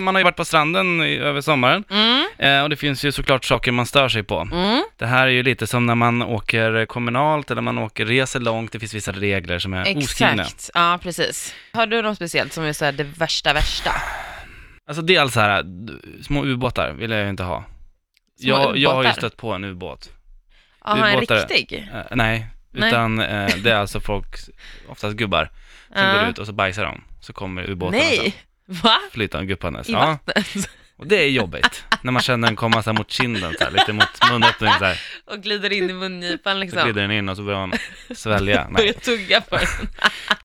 Man har ju varit på stranden i, över sommaren Mm, eh, och det finns ju såklart saker man stör sig på. mm, Det här är ju lite som när man åker kommunalt eller man åker, reser långt, det finns vissa regler som är oskrivna. exakt, ja precis. Har du något speciellt som är så här det värsta värsta? Alltså dels så här, d- små ubåtar vill jag ju inte ha. Små jag, jag har ju ubåtar? stött på en ubåt. Jaha, en Ubåtare. riktig? Eh, nej, Nej. utan eh, det är alltså folk, oftast gubbar, som Ja. går ut och så bajsar de. Så kommer ubåtarna sen, Nej, va? flytande guppandes. I alltså. Ja, vattnet? och det är jobbigt. när man känner den komma så här mot kinden, så här, lite mot munöppningen så här. Och glider in i mungipan Så liksom. glider den in och så börjar man svälja. Nej. Börjar tugga på den.